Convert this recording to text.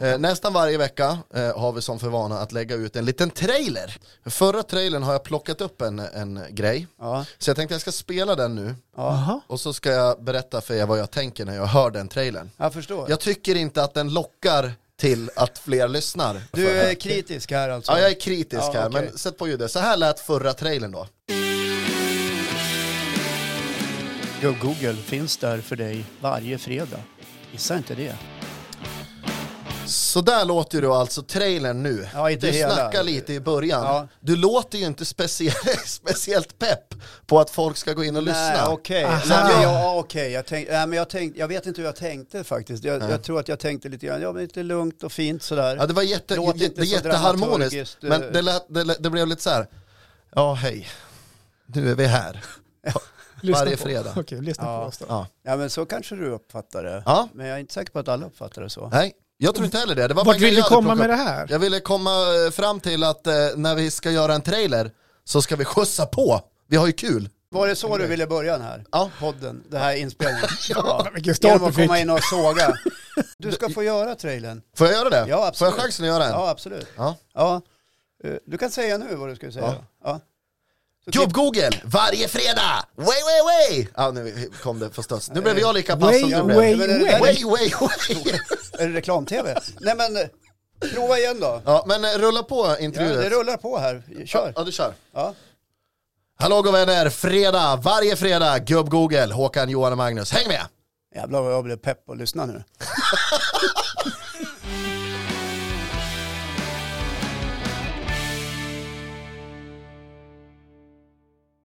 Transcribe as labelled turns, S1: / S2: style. S1: Eh, nästan varje vecka eh, har vi som för vana att lägga ut en liten trailer. Förra trailern har jag plockat upp en, en grej.
S2: Ja.
S1: Så jag tänkte jag ska spela den nu.
S2: Ja.
S1: Och så ska jag berätta för er vad jag tänker när jag hör den trailern.
S2: Jag förstår.
S1: Jag tycker inte att den lockar till att fler lyssnar.
S2: Du är kritisk här alltså?
S1: Ja, jag är kritisk
S2: Ja,
S1: här,
S2: okej.
S1: men sätt på ljudet. Så här lät förra trailern då.
S2: Go- Google finns där för dig varje fredag. Missa inte det.
S1: Så där låter du alltså trailern nu.
S2: Ja, inte
S1: du
S2: hela.
S1: snackar lite i början.
S2: Ja.
S1: Du låter ju inte specie- speciellt pepp på att folk ska gå in och
S2: Nej,
S1: lyssna. Ah.
S2: okej. Nej, men Ja, okej. Jag, tänk, nej, men jag, tänk, jag vet inte hur jag tänkte faktiskt. Jag, jag tror att jag tänkte lite grann, ja men lite lugnt och fint sådär.
S1: Ja, det var jätte,
S2: Låt
S1: jätte,
S2: inte så
S1: jätteharmoniskt,
S2: dramaturgiskt, eh.
S1: men det, lät, det, lät, det blev lite så här. ja hej, nu är vi här.
S3: Lyssna
S1: Varje
S3: på.
S1: fredag.
S3: Okej, lyssna
S2: Ja.
S3: på oss då.
S1: Ja.
S2: Ja men så kanske du uppfattar det.
S1: Ja.
S2: Men jag är inte säker på att alla uppfattar det så.
S1: Nej, jag tror inte heller det. det var bara
S3: Vart
S1: en grej
S3: vill du
S1: jag hade
S3: komma med
S1: plockat
S3: det
S1: upp.
S3: här?
S1: Jag ville komma eh, fram till att eh, när vi ska göra en trailer så ska vi skjutsa på. Vi har ju kul.
S2: Var det så du ville börja den här?
S1: Ja.
S2: Podden, det här inspelningen?
S3: Ja, men vilken start
S2: Genom
S3: du
S2: att
S3: fick.
S2: komma in och såga. Du ska få göra trailern.
S1: Får jag göra det?
S2: Ja, absolut.
S1: Får jag chansen att göra en?
S2: Ja, absolut.
S1: Ja.
S2: Ja. Eh, Du kan säga nu vad du skulle säga.
S1: Ja.
S2: Ja. Så
S1: Gubb Google, varje fredag! Way, way, way! Ja, nu kom det förstås. Nu blev jag lika pass
S2: Alltså,
S3: Way,
S1: som du blev.
S3: way,
S2: Men det där-
S1: Way,
S3: way.
S1: way, way!
S2: klipp- Är det reklam-tv? Nej men, eh, prova igen då.
S1: Ja, men eh, rulla på
S2: Ja, det
S1: intervjuet.
S2: rullar på här. Kör.
S1: Ja, du kör.
S2: Ja.
S1: Hallå goda vänner, fredag, varje fredag, Gubb Google, Håkan, Johan och Magnus. Häng med!
S2: Jävlar vad jag blev pepp och lyssna nu.